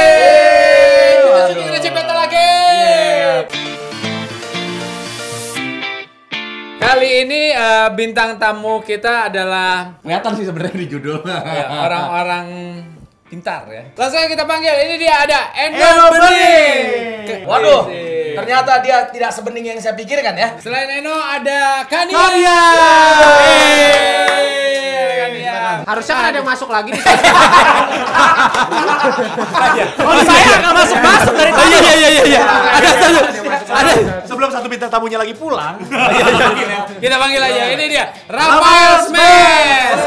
Yeay! Iya. Kita Waduh. jadi Receh Beta lagi. Kali ini eh, bintang tamu kita adalah Kelihatan sih sebenarnya di judul. ya, orang-orang pintar ya. Langsung aja kita panggil. Ini dia ada Endo Endo Bening. Iya Bening. Ke- Iya Waduh, Asik. ternyata dia tidak sebening yang saya pikirkan ya. Selain Eno ada Kania. Kania. Yeay, ada Kania. Harusnya kan ada yang masuk lagi nih. Oh, Kalau saya nggak masuk masuk dari tadi. iya iya iya iya. Ada satu. Ada. Sebelum satu bintang tamunya lagi pulang. Iya, Kita panggil aja. Ini dia Rafael Smash.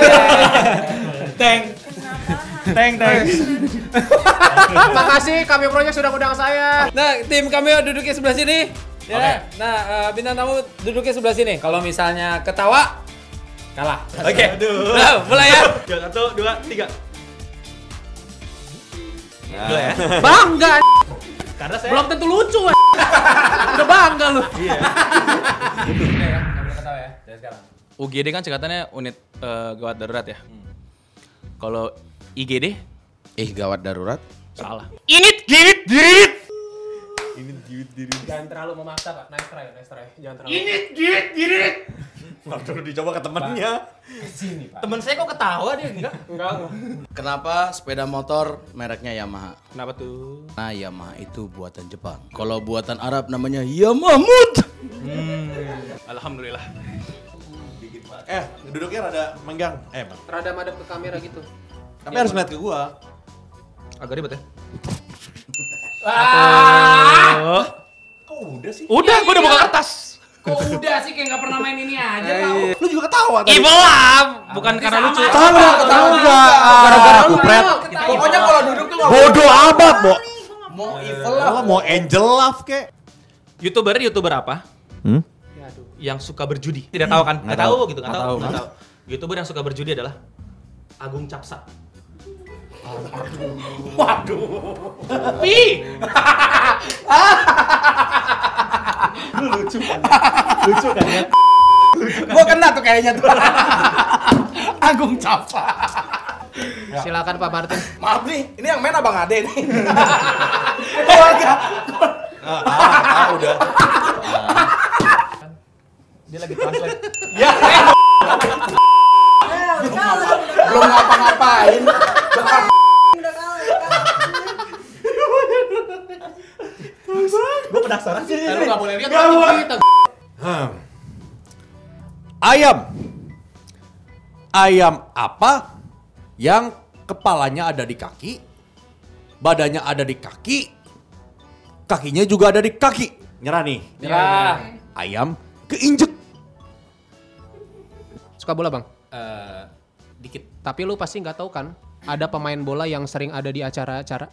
Makasih kami proyek sudah undang saya. Nah, tim kami duduknya sebelah sini. Ya. Nah, eh, bintang tamu duduknya sebelah sini. Kalau misalnya ketawa kalah. Oke. Aduh. Nah, mulai ya. Yuk, satu, dua, tiga. Bangga. Karena saya Iya. Belum tentu lucu. Udah bangga lu. ketawa ya. Dari sekarang. UGD kan singkatannya unit eh, gawat darurat ya. Kalau IGD Ih gawat darurat. salah. Jangan terlalu memaksa, Pak. Nice try, nice try. Jangan terlalu. Waktu dicoba ke temennya. Temen saya kok ketawa dia enggak? Kenapa sepeda motor mereknya Yamaha? Kenapa tuh? Nah Yamaha itu buatan Jepang. Kalau buatan Arab namanya Yamamut. Alhamdulillah. eh duduknya rada menggang. Eh, emang. Rada madep ke kamera gitu. Tapi harus ngeliat ke gua. Agak ribet ya. Kok udah sih? Udah, gua udah buka kertas. Kok udah sih kayak nggak pernah main ini aja tahu. Lu juga ketawa tadi. Ibelam, bukan karena lucu. Tahu tahu enggak? Gara-gara kupret. Pokoknya kalau duduk tuh nggak Bodoh amat, Bo. mau evil lah. Lah mau angel love kek. Youtuber youtuber apa? Hmm? Yang suka berjudi. Tidak tahu kan? Enggak tahu gitu, enggak Nggak tahu. tahu. Nggak tahu. Youtuber yang suka berjudi adalah Agung Capsa. Waduh. Pi. Gua kena tuh kayaknya tuh. Agung Capa. Ya. Silakan Pak Martin. Maaf nih, ini yang main Abang Ade nih. Keluarga. Ah, Ah, udah. Dia lagi translate. Ya. Belum ngapa-ngapain. Gua penasaran sih. Lu nggak boleh lihat orang kita. Hmm. Ayam. Ayam apa yang kepalanya ada di kaki, badannya ada di kaki, kakinya juga ada di kaki. Nyerah nih. Ya. Ayam keinjek. Suka bola, Bang? Eh, dikit. Tapi lu pasti nggak tahu kan, ada pemain bola yang sering ada di acara-acara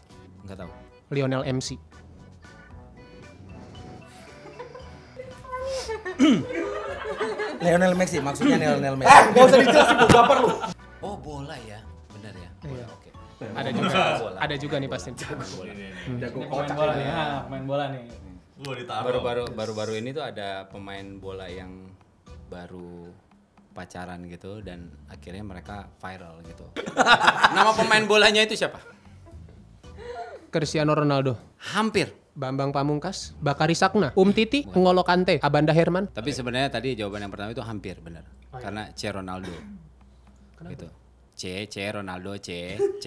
Nggak tahu. Lionel MC. Lionel Messi, maksudnya Lionel Messi. Eh, enggak usah dijelasin, enggak perlu. Oh, bola ya. Benar ya. Bola, Oke. Ada juga. Ada juga nih pasti. pemain Hmm. bola nih, ah, pemain bola nih. baru-baru baru-baru ini tuh ada pemain bola yang baru pacaran gitu dan akhirnya mereka viral gitu. Nama pemain bolanya itu siapa? Cristiano Ronaldo. Hampir. Bambang Pamungkas, Bakari Sakna, Um Titi, Ngolo Kante, Abanda Herman. Tapi sebenarnya tadi jawaban yang pertama itu hampir benar. Karena C Ronaldo. Gitu. C C Ronaldo C C.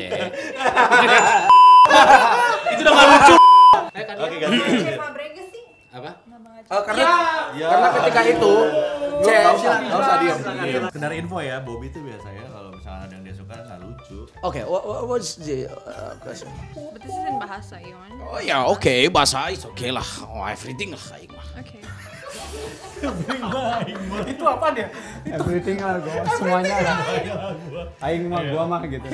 Oke, ganti. Fabregas sih Apa? Eh, karena karena ketika Iya. itu Cek, enggak usah diam. Sekedar info ya, Bobby tuh biasanya kalau misalnya ada yang dia suka nggak lucu. Oke, what, what's the uh, question? Betisin bahasa Iwan Oh ya, oke, bahasa is oke lah. Oh, everything lah, aing mah. Oke Itu apa dia? Everything lah gua, semuanya lah. Aing mah gua mah gitu.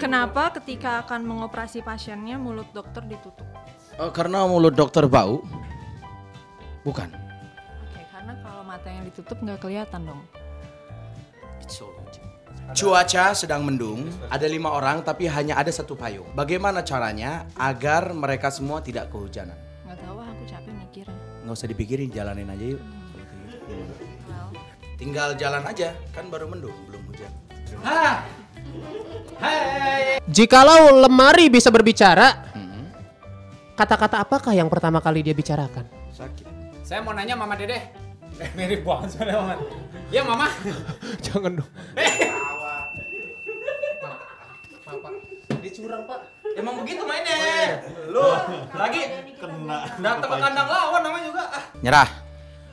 Kenapa ketika akan mengoperasi pasiennya mulut dokter ditutup? Eh, karena mulut dokter bau. Bukan. Oke, karena kalau mata yang ditutup nggak kelihatan dong Cuaca sedang mendung, ada lima orang tapi hanya ada satu payung. Bagaimana caranya agar mereka semua tidak kehujanan? Nggak tahu, ah, aku capek mikirnya Nggak usah dipikirin, jalanin aja yuk. Well, Tinggal jalan aja, kan baru mendung, belum hujan. Jikalau lemari bisa berbicara, Mm-hmm. kata-kata apakah yang pertama kali dia bicarakan? Saya mau nanya Mama Dede. Eh, Mirip banget suara Mama. Ya Mama. Eh. Jangan dong. Emang begitu mainnya. Lu lagi Oh, iya. kena. Datang ke kandang lawan namanya juga. Nyerah.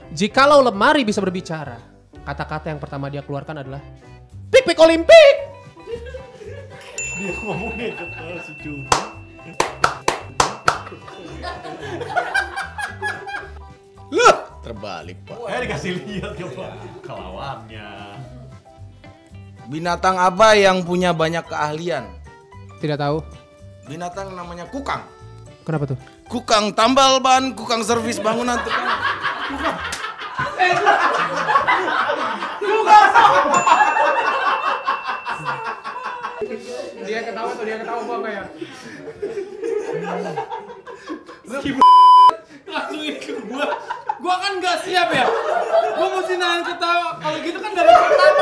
Jikalau lemari bisa berbicara, kata-kata yang pertama dia keluarkan adalah Pik Pik Olimpik. Terbalik pak. Eh dikasih lihat coba kelawannya. Binatang apa yang punya banyak keahlian? Tidak tahu. Binatang namanya kukang. Kenapa tuh? Kukang tambal ban, kukang servis bangunan tukang. Dia ketawa tuh dia ketawa gua kayak. Langsung ini ke gua. Gua kan nggak siap ya. Gua mesti nahan ketawa. Kalau gitu kan dapat pertama.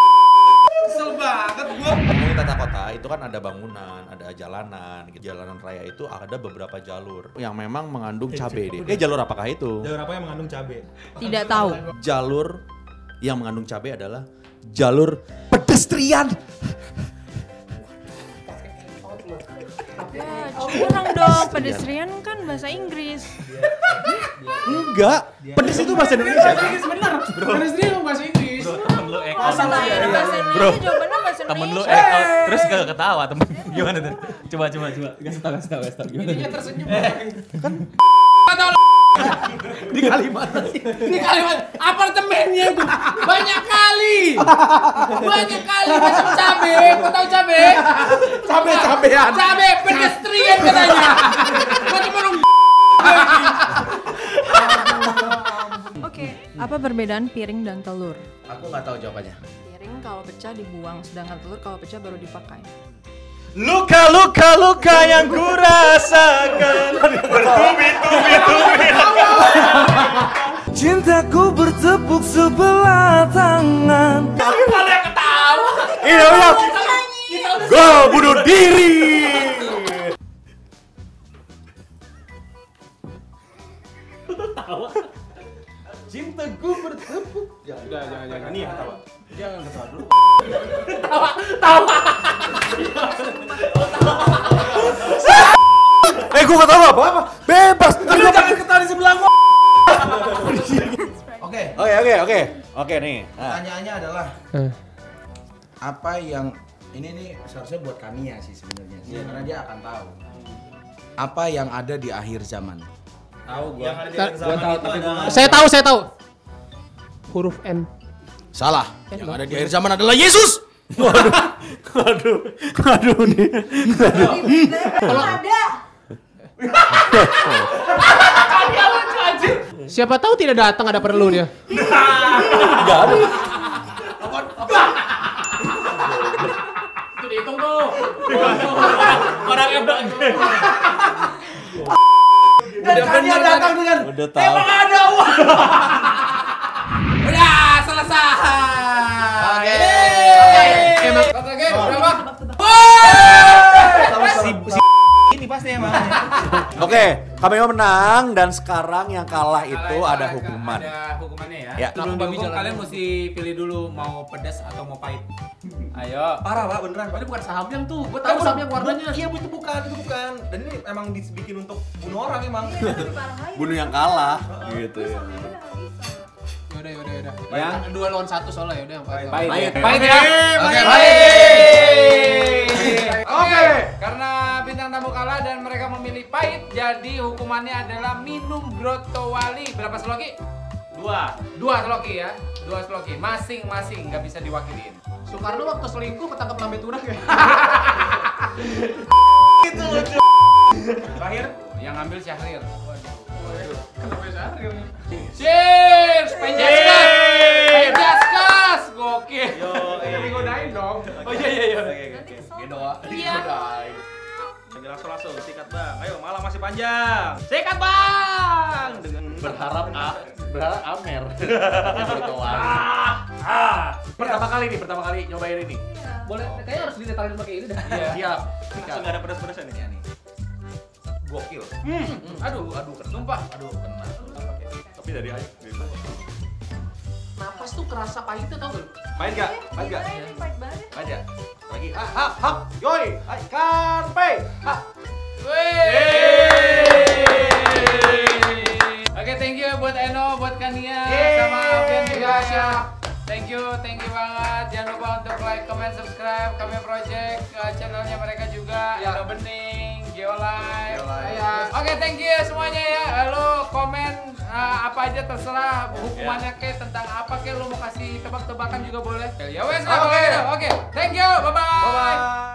Kesel banget gua. Ngomongin tata kota itu kan ada bangunan, ada jalanan. Jalanan raya itu ada beberapa jalur yang memang mengandung cabai deh. Eh jalur apakah itu? Jalur apa yang mengandung cabe? Tidak tahu. Jalur yang mengandung cabai adalah jalur pedestrian. Ya, curang dong. Pedestrian kan bahasa Inggris. Enggak, pedes itu bahasa Indonesia. Sebentar. Pedestrian emang bahasa Inggris. Temen lu Kalau ekos. pertanyaan bahasa Indonesia, jawabannya bahasa Temen lu eh. Indonesia. ekos. Terus gak ketawa temen. Gimana tuh? Coba, coba, coba. Kasih tau, kasih tau, kasih tau. Gimana? Dia tersenyum. Eh. Kan- Ini kalimat apartemennya itu banyak kali. Banyak kali macam cabe. Kau tahu cabe? Cabe cabean. Cabe pedestrian katanya. Macam orang Oke, apa perbedaan piring dan telur? Hmm. Aku nggak tahu jawabannya. Piring kalau pecah dibuang, sedangkan telur kalau pecah baru dipakai. Luka, luka, luka yang ku rasakan Bertubi-tubi-tubi Cintaku bertepuk sebelah tangan. Iya, iya. Gue bunuh diri. Ya, Cinta gue bertepuk. Jangan, jangan, jangan. Ini yang ketawa dulu. Tawa, tawa. eh gue ketawa apa apa? Bebas. Lu jangan ketawa di sebelah gua. Oke. Oke oke oke. Oke nih. Pertanyaannya adalah Eh. apa yang ini nih seharusnya buat kami ya sih sebenarnya sih, karena dia akan tahu apa yang ada di akhir zaman. Gua tahu tapi gua Saya tahu, saya tahu. Huruf N. Salah. yang ada di akhir zaman adalah Yesus. Siapa tahu tidak datang ada perlu dia. Orang yang Udah tahu. Udah selesai. Oke. Emang Oke, berapa? Oke, Kameo menang dan sekarang yang kalah itu ada hukuman. Ada hukumannya ya. Ya. Sebelum dihukum kalian mesti pilih dulu mau pedas atau mau pahit. Ayo. Parah pak beneran. Ini bukan saham yang tuh, gua tahu saham yang warnanya. Iya bu, itu bukan, itu bukan. Dan ini emang dibikin untuk bunuh orang emang. Bunuh yang kalah gitu ya. Yaudah, yaudah, yaudah. Yang ya dua lawan satu soalnya yaudah yang paling Pahit. Pahit, ya. Oke, pahit. Oke, karena bintang tamu kalah dan mereka memilih pahit, jadi hukumannya adalah minum grotto wali. Berapa seloki? Dua. Dua seloki ya. Dua seloki. Masing-masing nggak bisa diwakilin. Soekarno waktu selingkuh ketangkep lambe turah ya. Terakhir yang ngambil Syahrir. Kenapa Syahrir? Cheers! Penjaskas! Penjaskas! Gokil! Yo, digodain dong. Oh iya iya iya. Iya. Sambil langsung langsung sikat bang. Ayo malam masih panjang. Sikat bang! Pertama kali nih, pertama kali nyobain ini. Iya. Boleh, kayaknya harus diletalin pakai ini dah. Iya. Siap. Langsung nggak ada pedas-pedasnya nih. Iya nih. Gokil. Hmm, Aduh, aduh, sumpah. Aduh, kena. Tapi dari air. dari bawah. Napas tuh kerasa pahitnya tau gak? Main nggak? Main nggak? Ini pahit banget ya. Main nggak? Lagi. Ah, hap, hap. Yoi. Hai, karpe. Hap. Oke, thank you buat Eno, buat Kania, Yeay. sama Alvin juga Syah. Thank you, thank you banget. Jangan lupa untuk like, comment, subscribe. Kami Project ke channelnya mereka juga. Ya. Eno Bening, Geolive. Geolive. Iya. Oke, thank you semuanya ya. Lo komen eh, apa aja terserah hukumannya ke tentang apa Ya ke lo mau kasih tebak-tebakan juga boleh. Ya wes lah, kalau gitu. Oke, thank you. Bye bye. Bye-bye.